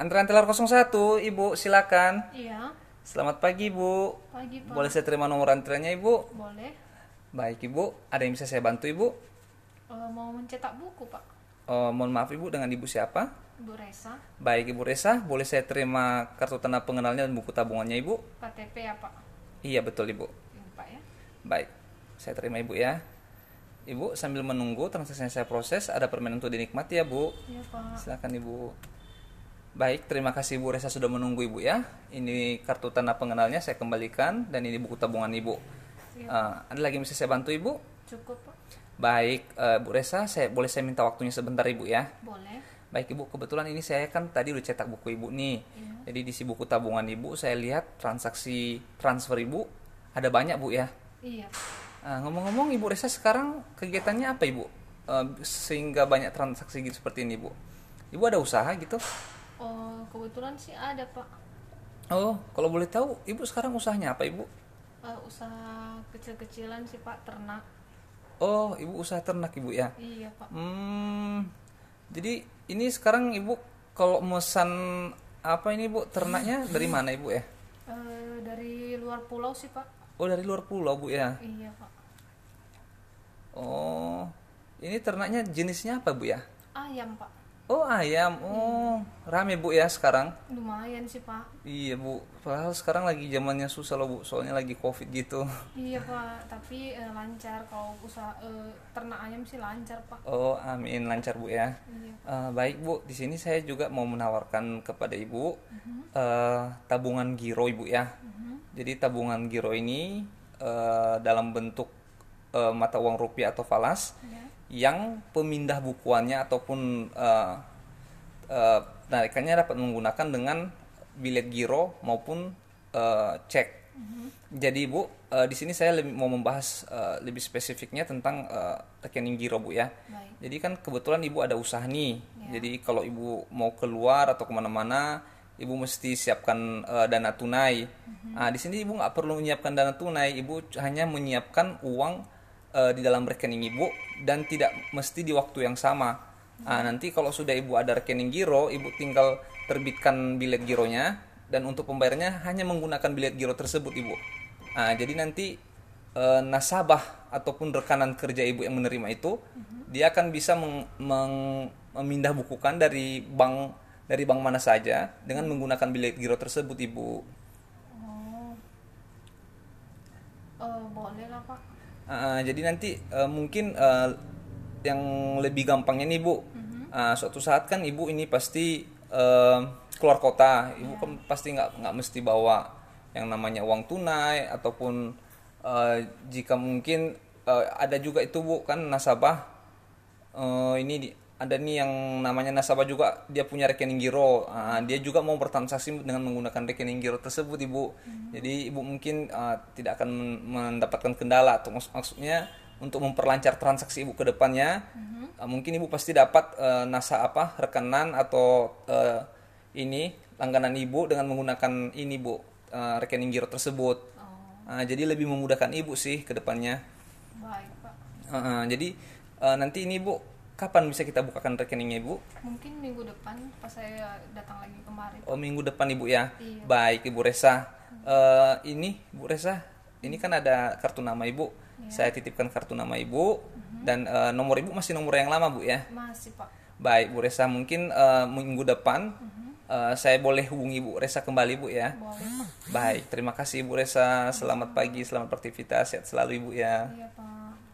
Antrean Teller 01, Ibu, silakan. Iya, Selamat pagi, Ibu. pagi Pak. Boleh saya terima nomor antreannya, Ibu? Boleh. Baik, Ibu. Ada yang bisa saya bantu, Ibu? Eh, mau mencetak buku Pak. Eh, mohon maaf, Ibu, dengan Ibu siapa? Bu Resa, Baik, Ibu Resa, boleh saya terima kartu tanda pengenalnya dan buku tabungannya, Ibu? KTP ya Pak. Iya, betul, Ibu. Ini, Pak ya. Baik, saya terima Ibu ya. Ibu, sambil menunggu transaksinya saya proses, ada permen untuk dinikmati ya, Bu. Iya Pak. Silakan Ibu. Baik, terima kasih Bu Resa sudah menunggu Ibu ya. Ini kartu tanda pengenalnya saya kembalikan dan ini buku tabungan Ibu. Iya. Eh, ada lagi yang bisa saya bantu Ibu? Cukup Pak. Baik, eh, Bu Resa, saya boleh saya minta waktunya sebentar Ibu ya. Boleh. Baik Ibu, kebetulan ini saya kan tadi udah cetak buku Ibu nih. Iya. Jadi di si buku tabungan Ibu saya lihat transaksi transfer Ibu ada banyak Bu ya. Iya. Ah, ngomong-ngomong Ibu Resa sekarang kegiatannya apa Ibu? Eh, sehingga banyak transaksi gitu seperti ini Ibu. Ibu ada usaha gitu? Oh, kebetulan sih ada Pak. Oh, kalau boleh tahu Ibu sekarang usahanya apa Ibu? Eh, usaha kecil-kecilan sih Pak, ternak. Oh, Ibu usaha ternak Ibu ya. Iya Pak. Hmm. Jadi ini sekarang Ibu kalau memesan apa ini Bu ternaknya dari mana Ibu ya? Eh, dari luar pulau sih Pak. Oh, dari luar pulau Bu ya. Iya Pak. Oh. Ini ternaknya jenisnya apa Bu ya? Ayam Pak. Oh, ayam. Oh, rame Bu ya sekarang. Lumayan sih Pak. Iya bu, padahal sekarang lagi zamannya susah loh bu, soalnya lagi covid gitu. Iya Pak. Tapi eh, lancar kalau usaha eh, ternak ayam sih lancar Pak. Oh amin lancar bu ya. Iya. Eh, baik bu, di sini saya juga mau menawarkan kepada ibu Mhm. eh, tabungan giro ibu ya. Jadi tabungan giro ini eh, dalam bentuk eh, mata uang rupiah atau falas Iya. yang pemindah bukuannya ataupun eh, eh, penarikannya dapat menggunakan dengan bilet giro maupun eh, cek. Mhm. Jadi Bu, eh, di sini saya lebih- mau membahas eh, lebih spesifiknya tentang eh, rekening giro Bu ya. Baik. Jadi kan kebetulan Ibu ada usaha nih. Jadi kalau Ibu mau keluar atau kemana-mana, Ibu mesti siapkan eh, dana tunai. Nah, di sini Ibu nggak perlu menyiapkan dana tunai, Ibu c- hanya menyiapkan uang eh, di dalam rekening Ibu dan tidak mesti di waktu yang sama. Ah, nanti kalau sudah ibu ada rekening giro, ibu tinggal terbitkan bilet gironya dan untuk pembayarannya hanya menggunakan bilet giro tersebut ibu. Ah, jadi nanti eh, nasabah ataupun rekanan kerja ibu yang menerima itu, dia akan bisa meng- meng- memindah bukukan dari bank dari bank mana saja dengan menggunakan bilet giro tersebut ibu. Oh. Eh, boleh lah Pak. Ah, jadi nanti eh, mungkin eh, yang lebih gampangnya nih Bu, Ah, suatu saat kan Ibu ini pasti eh, keluar kota, Ibu kan pasti nggak nggak mesti bawa yang namanya uang tunai ataupun eh, jika mungkin eh, ada juga itu Bu kan nasabah Eh, ini di- ada nih yang namanya nasabah juga dia punya rekening giro Ah, dia juga mau bertransaksi dengan menggunakan rekening giro tersebut ibu jadi ibu mungkin eh, tidak akan men- mendapatkan kendala atau maks- maksudnya untuk memperlancar transaksi ibu ke depannya eh, mungkin ibu pasti dapat eh, nasa apa rekanan atau eh, ini langganan ibu dengan menggunakan ini bu eh, rekening giro tersebut Oh, Ah, jadi lebih memudahkan ibu sih ke depannya baik Pak. Uh, uh, jadi uh, nanti ini Bu, kapan bisa kita bukakan rekeningnya Ibu? Mungkin minggu depan pas saya datang lagi kemarin. Oh minggu depan Ibu ya. Iya. Baik Ibu Resa. Uh, ini Bu Resa, ini kan ada kartu nama Ibu. Saya titipkan kartu nama Ibu dan uh, nomor Ibu masih nomor yang lama Bu ya. Masih Pak. Baik Bu Resa, mungkin uh, minggu depan uh, saya boleh hubungi Bu Resa kembali Bu ya. Boleh Pak. Baik, terima kasih Bu Resa. Selamat pagi, selamat beraktivitas, sehat selalu Ibu ya. Iya Pak.